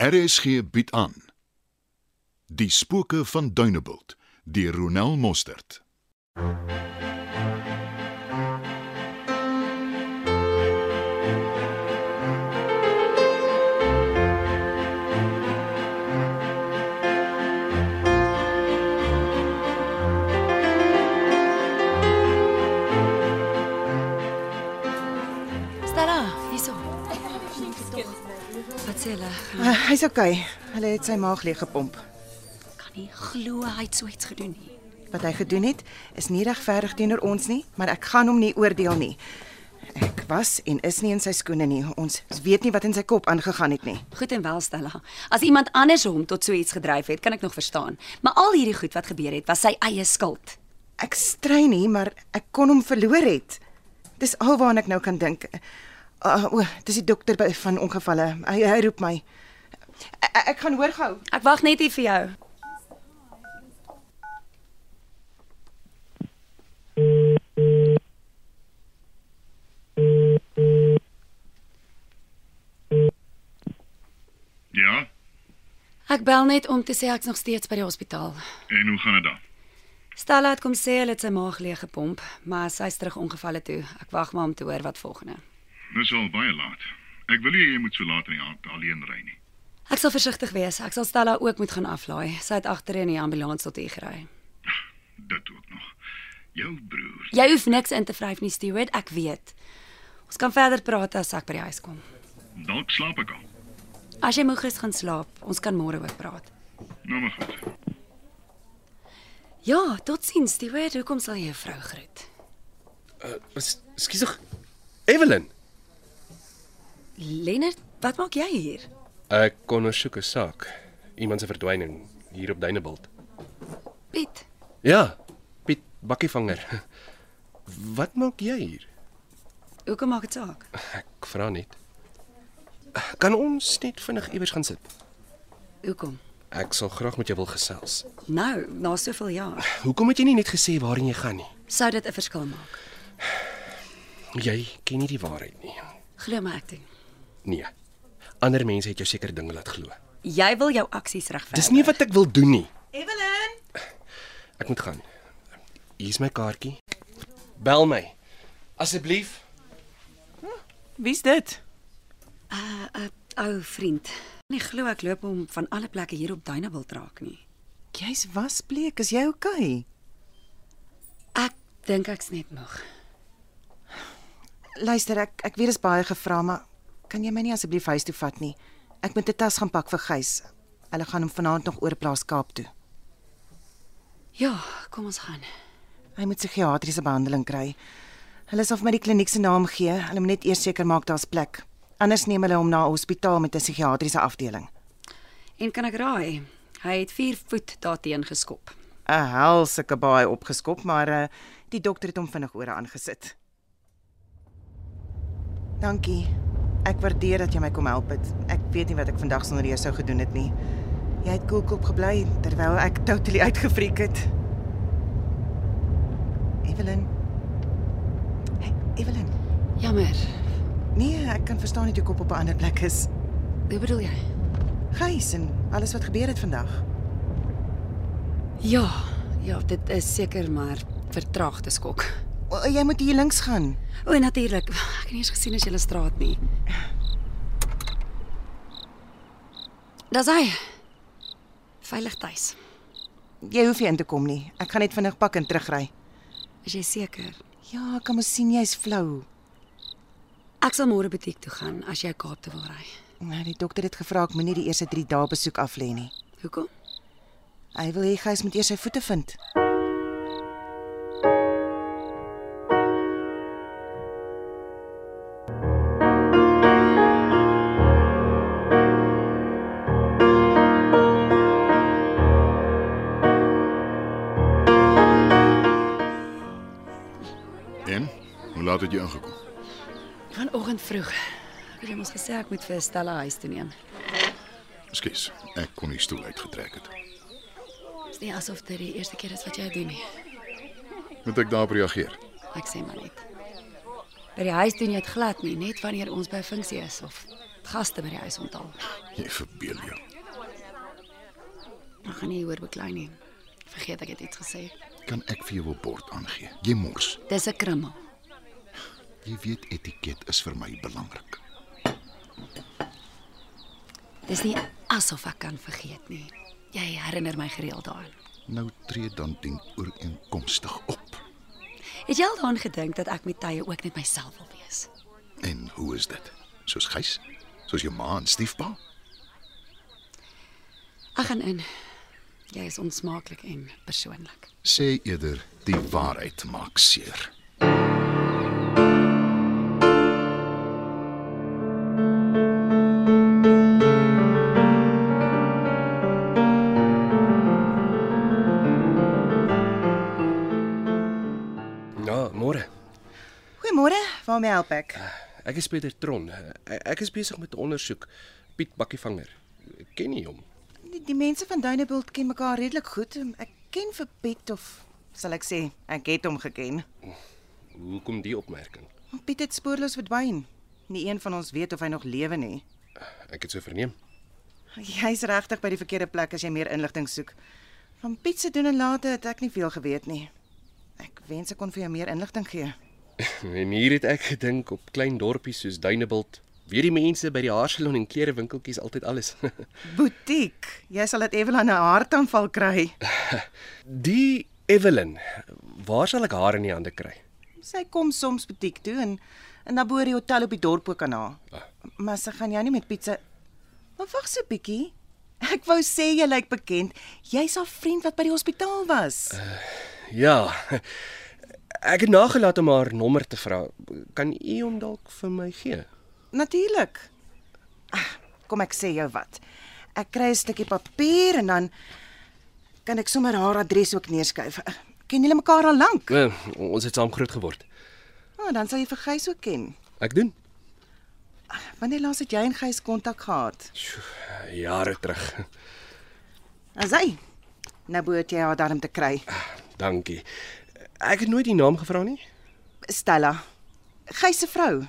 RSG bied aan Die spooke van Duneveld deur Ronel Mostert. Stella, hierso. Wat sê hulle? Uh, Hy's okay. Hulle het sy maag leeg gepomp. Kan nie glo hy het so iets gedoen nie. Wat hy gedoen het, is nie regverdig teenoor ons nie, maar ek gaan hom nie oordeel nie. Ek was en is nie in sy skoene nie. Ons weet nie wat in sy kop aangegaan het nie. Goed en wel Stella. As iemand anders hom tot so iets gedryf het, kan ek nog verstaan. Maar al hierdie goed wat gebeur het, was sy eie skuld. Ek strei nie, maar ek kon hom verloor het. Dis alwaaraan ek nou kan dink. Uh, o, oh, dis die dokter by van ongevalle. Hy, hy roep my. Ek, ek gaan hoor gou. Ek wag net hier vir jou. Ja, Ek bel net om te sê ek's nog steeds by die hospitaal. en hoe gaan dit dan? Stella het kom sê hulle het sy maag leeg gepomp, maar sy's terug ongevalle toe. Ek wag maar om te hoor wat volgende. Dis al baie laat. Ek wil nie jy moet so laat in die aand alleen ry nie. Ek sal versigtig wees. Ek sal Stella ook moet gaan aflaai. Sy het agter in die ambulans tot hier gery. Dit ook nog. Jou broer. Jy hoef niks in te vryf nie, Stewart, ek weet. Ons kan verder praat as ek by die huis kom. Dalk slaap ek al. As jy moeg is, gaan slaap. Ons kan môre ook praat. Nou maar goed. Ja, totsiens, Stewart. Hoekom sal jy jou vrou groet? Ekskuus tog. Evelyn, Lennard, wat maak jy hier? ek kon ondersoek 'n saak. Iemand se verdwyning hier op Duneveld. Piet, Ja, Piet Bakkievanger. Wat maak jy hier? hoekom maak dit saak? Ek vra net. Kan ons net vinnig iewers gaan sit? Hoekom? Ek sal graag met jou wil gesels. Nou, na soveel jaar, Hoekom het jy nie net gesê waarheen jy gaan nie? sou dit 'n verskil maak. Jy ken nie die waarheid nie. Glo my ek doen. Nee. Ander mense het jou seker dinge laat glo. Jy wil jou aksies regverdig. Dis nie wat ek wil doen nie. Evelyn, Ek moet gaan. Hier's my kaartjie. Bel my. Asseblief. Wie's dit? 'n uh, uh, ou vriend. Nee, glo ek loop hom van alle plekke hier op Duneveld raak nie. jy's wasbleek. Is jy okay? Ek dink ek's net moeg. Luister, ek ek weet dis baie gevra, maar kan jy my nie asseblief huis toe vat nie? Ek moet 'n tas gaan pak vir Gys. Hulle gaan hom vanaand nog oorplaas Kaap toe. Ja, kom ons gaan. Hy moet psigiatriese behandeling kry. Hulle sal vir my die kliniek se naam gee. Hulle moet net eers seker maak daar's plek. Anders neem hulle hom na 'n hospitaal met 'n psigiatriese afdeling. En kan ek raai? Hy het 4 voet daarteen geskop. 'n Hel sulke baai opgeskop, maar uh, die dokter het hom vinnig ore aangesit. Dankie. Ek waardeer dat jy my kom help het. Ek weet nie wat ek vandag sonder jou sou gedoen het nie. Jy het koelkop gebly terwyl ek totally uitgefriek het. Evelyn. Hey, Evelyn. Jammer. Nee, ek kan verstaan dat jou kop op 'n ander plek is. Hoe bedoel jy? Gys en alles wat gebeur het vandag. Ja, ja, dit is seker maar vertraagde skok. O, jy moet hier links gaan. O, natuurlik. Ek het nie eens gesien as jy hulle straat nie. Daar's hy. Veilig tuis. Jy hoef nie in te kom nie. Ek gaan net vinnig pak en terugry. Is jy seker? Ja, ek kan mos sien jy's flou. Ek sal môre butiek toe gaan as jy Kaap toe wil ry. Nou, die dokter het gevra ek moenie die eerste 3 dae besoek af lê nie. Hoekom? Hy wil hê Gys moet eers sy voete vind. En hoe laat het jy ingekom? Vanoggend vroeg. Ek het mos gesê ek moet vir Stella huis toe neem. Ekskuus, ek kon nie stoel uitgetrek het. Dit is nie asof dit die eerste keer is wat jy dit doen nie. Moet ek daarop reageer? Ek sê maar net. By die huis doen jy dit glad nie, net wanneer ons by 'n funksie is of Gaste by die huis onthaal. Jy verbeel jou. Ek gaan nie hoor beklei nie. Vergeet ek het iets gesê. Kan ek vir jou 'n bord aangee? Jy mors. Dis 'n krummel. Jy weet etiket is vir my belangrik. Dis nie asof ek kan vergeet nie. Jy herinner my gereeld daaraan. Nou tree dan dien ooreenkomstig op. Het jy al daaraan gedink dat ek met tye ook net myself wil wees? En hoe is dit? Soos gys? Soos jou ma en stiefpa? Ek gaan in. Jy is onsmaaklik en persoonlik. Sê eerder die waarheid maak seer. Ja, môre. Goeiemôre, waarmee help ek? Ek is Pieter Tron. Ek ek is besig met 'n ondersoek. Piet Bakkievanger. Ken jy hom? Die, die mense van Dunebuld ken mekaar redelik goed. Ek ken vir Piet of sal ek sê, ek het hom geken. Hoekom die opmerking? Maar Piet het spoorloos verdwyn. Nie een van ons weet of hy nog lewe nie. Ek het so verneem. Jy's regtig by die verkeerde plek as jy meer inligting soek. Van Piet se doen en late het ek nie veel geweet nie. Ek wens ek kon vir jou meer inligting gee. En hier het ek gedink op klein dorpies soos Dunebuld, weet die mense by die haarsalon en klerewinkeltjies altyd alles. Butiek, jy sal dit Evelyn 'n hartaanval kry. die Evelyn, waar sal ek haar in die hande kry? Sy kom soms butiek toe en en dan boor die hotel op die dorp ook aan haar. Maar sy gaan jou nie met pizza. Maar wag so 'n bietjie. Ek wou sê jy lyk bekend. Jy's haar vriend wat by die hospitaal was. Ja. Ek het nagelaat om haar nommer te vra. Kan u hom dalk vir my gee? Natuurlik. Ah, Kom ek sê jou wat. Ek kry 'n stukkie papier en dan kan ek sommer haar adres ook neerskryf. Ah, Ken julle mekaar al lank? Uh, ons het saam groot geword. Ah, dan sal jy vir Gys ook ken. Ek doen Wanneer laas het jy en Gys kontak gehad? jare terug. As hy nou moet jy haar darm te kry. Dankie. Ek het nooit die naam gevra nie. Stella. Gys se vrou.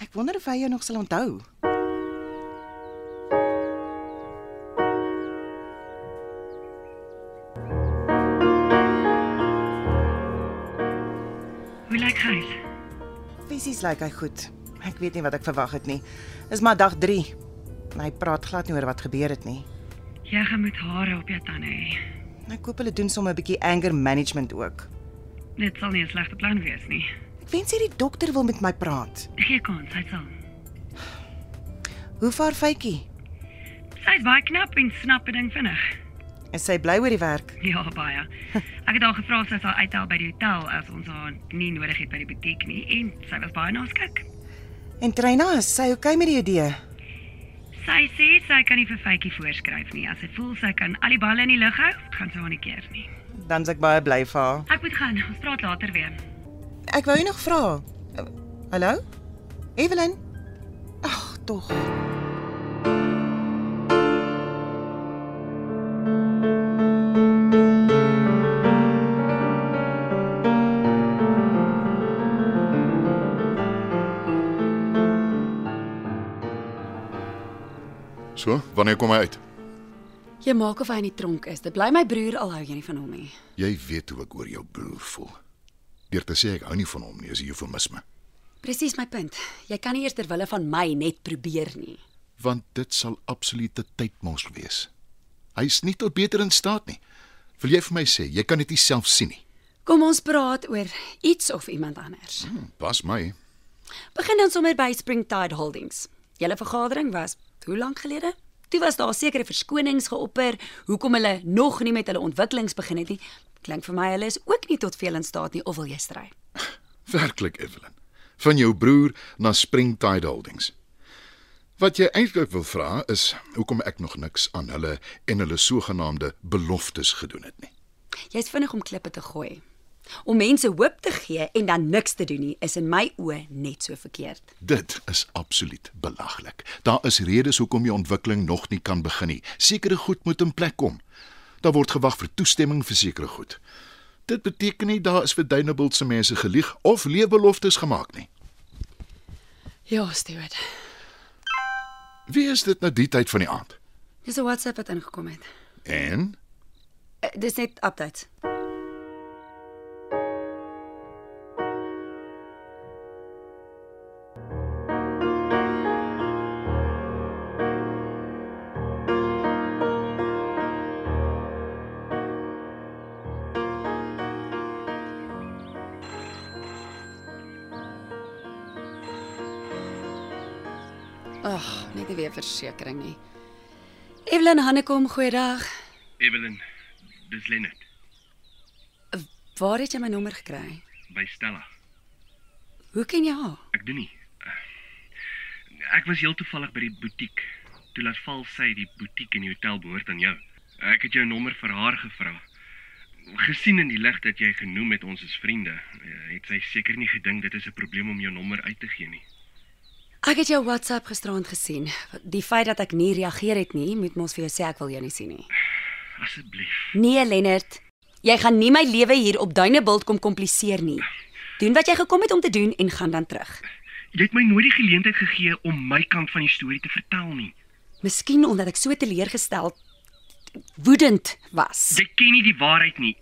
Ek wonder of hy jou nog sal onthou. Hoe lyk hy? Fisies lyk hy goed. Ek weet nie wat ek verwag het nie. Dis maar dag 3. En Hy praat glad nie oor wat gebeur het nie. Jy gaan met hare op jou tande hê. En Nou, Ek koop hulle doen sommer 'n bietjie anger management ook. Dit sal nie 'n slegte plan wees nie. Ek wens hierdie dokter wil met my praat. Gee kans, hy sal. Hoe vaar Faitjie? Sy's baie knap en snap 'n ding vinnig. Is sy bly oor die werk? Ja, baie. Ek het haar gevra of sy sal uithaal by die hotel as ons haar nie nodig het by die butiek nie en sy was baie naskik. En Trina, is sy oukei okay met die idee? Sy sê sy kan nie vir Faitjie voorskryf nie. As sy voel sy kan al die balle in die lug hou, gaan sy haar nie keer nie. Dan's ek baie bly vir haar. Ek moet gaan. Ons praat later weer. Ek wou jou nog vra. Uh, Hallo? Evelyn? Ag, tog. So, wanneer kom hy uit? Jy maak of hy in die tronk is. Dit bly my broer al hou jy nie van hom nie. Jy weet hoe ek oor jou broer voel. Deur te sê ek hou nie van hom nie, is 'n eufemisme, Presies my punt. Jy kan nie eers ter wille van my net probeer nie. want dit sal absolute tydmors wees. Hy's nie tot beter in staat nie. Wil jy vir my sê jy kan dit nie self sien nie? Kom ons praat oor iets of iemand anders. Hm, Pas my. Begin dan sommer by Springtide Holdings. Julle vergadering was hoe lank gelede? Toe was daar sekere verskonings geopper hoekom hulle nog nie met hulle ontwikkelings begin het nie. Klink vir my hulle is ook nie tot veel in staat nie of wil jy stry? Werklik, Evelyn. Van jou broer na Springtide Holdings. Wat jy eintlik wil vra is hoekom ek nog niks aan hulle en hulle sogenaamde beloftes gedoen het nie. Jy's vinnig om klippe te gooi. Om mense hoop te gee en dan niks te doen nie is in my oë net so verkeerd. Dit is absoluut belaglik. Daar is redes hoekom die ontwikkeling nog nie kan begin nie. Sekere goed moet in plek kom. Daar word gewag vir toestemming vir sekere goed. Dit beteken nie daar is vir Dunebuld se mense gelieg of leebeloftes gemaak nie. Ja, Stuart. Wie is dit nou die tyd van die aand? Dis 'n WhatsApp wat ingekom het. En Eh, Dis net updates. Ag, net nie weer versekering nie. Evelyn Hannekom, goeiedag. Evelyn, dis Lennard Waar het jy my nommer gekry? by Stella. Hoe ken jy haar? Ek doen nie. Ek was heel toevallig by die butiek. Toe laat val sy die butiek en die hotel behoort aan jou. Ek het jou nommer vir haar gevra. Gesien in die lig dat jy genoem het ons is vriende, eh, het sy seker nie gedink dit is 'n probleem om jou nommer uit te gee nie. Ek het jou WhatsApp gisteraand gesien. Die feit dat ek nie reageer het nie, moet mos vir jou sê ek wil jou nie sien nie. Asseblief. Nee, Lennard. Jy gaan nie my lewe hier op Duinebilt kom kompliseer nie. Doen wat jy gekom het om te doen en gaan dan terug. Jy het my nooit die geleentheid gegee om my kant van die storie te vertel nie. Miskien omdat ek so teleurgestel woedend was. Jy ken nie die waarheid nie.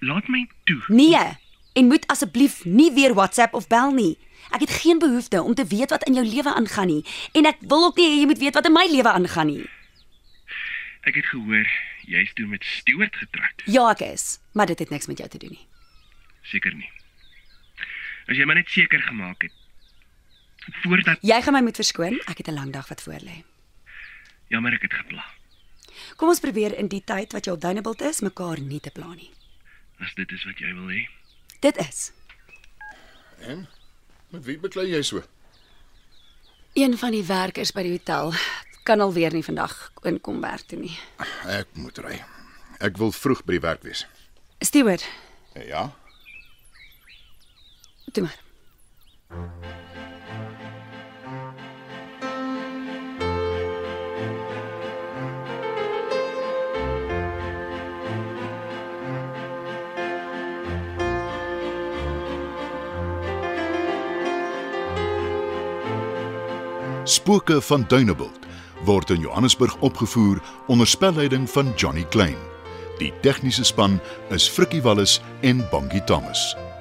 Laat my toe. Nee, en moet asseblief nie weer WhatsApp of bel nie. Ek het geen behoefte om te weet wat in jou lewe aangaan nie en ek wil ook nie hê jy moet weet wat in my lewe aangaan nie. Ek het gehoor jy's toe met Stewart getroud. Ja, ek is, maar dit het niks met jou te doen nie. Seker nie. As jy maar net seker gemaak het voordat Jy gaan my moet verskoon, ek het 'n lang dag wat voor lê. jammer ek het gepla. Kom ons probeer in die tyd wat jy op Duinebilt is, mekaar nie te pla nie. As dit is wat jy wil hê. Dit is en met wie beklei jy so? een van die werkers by die hotel kan alweer nie vandag inkom werk toe nie. Ek moet ry. Ek wil vroeg by die werk wees. Steward, Ja. toe maar. Spooke van Duneveld word in Johannesburg opgevoer onder spelleiding van Johnny Klein. Die tegniese span is Frikkie Wallis en Bongie Thomas.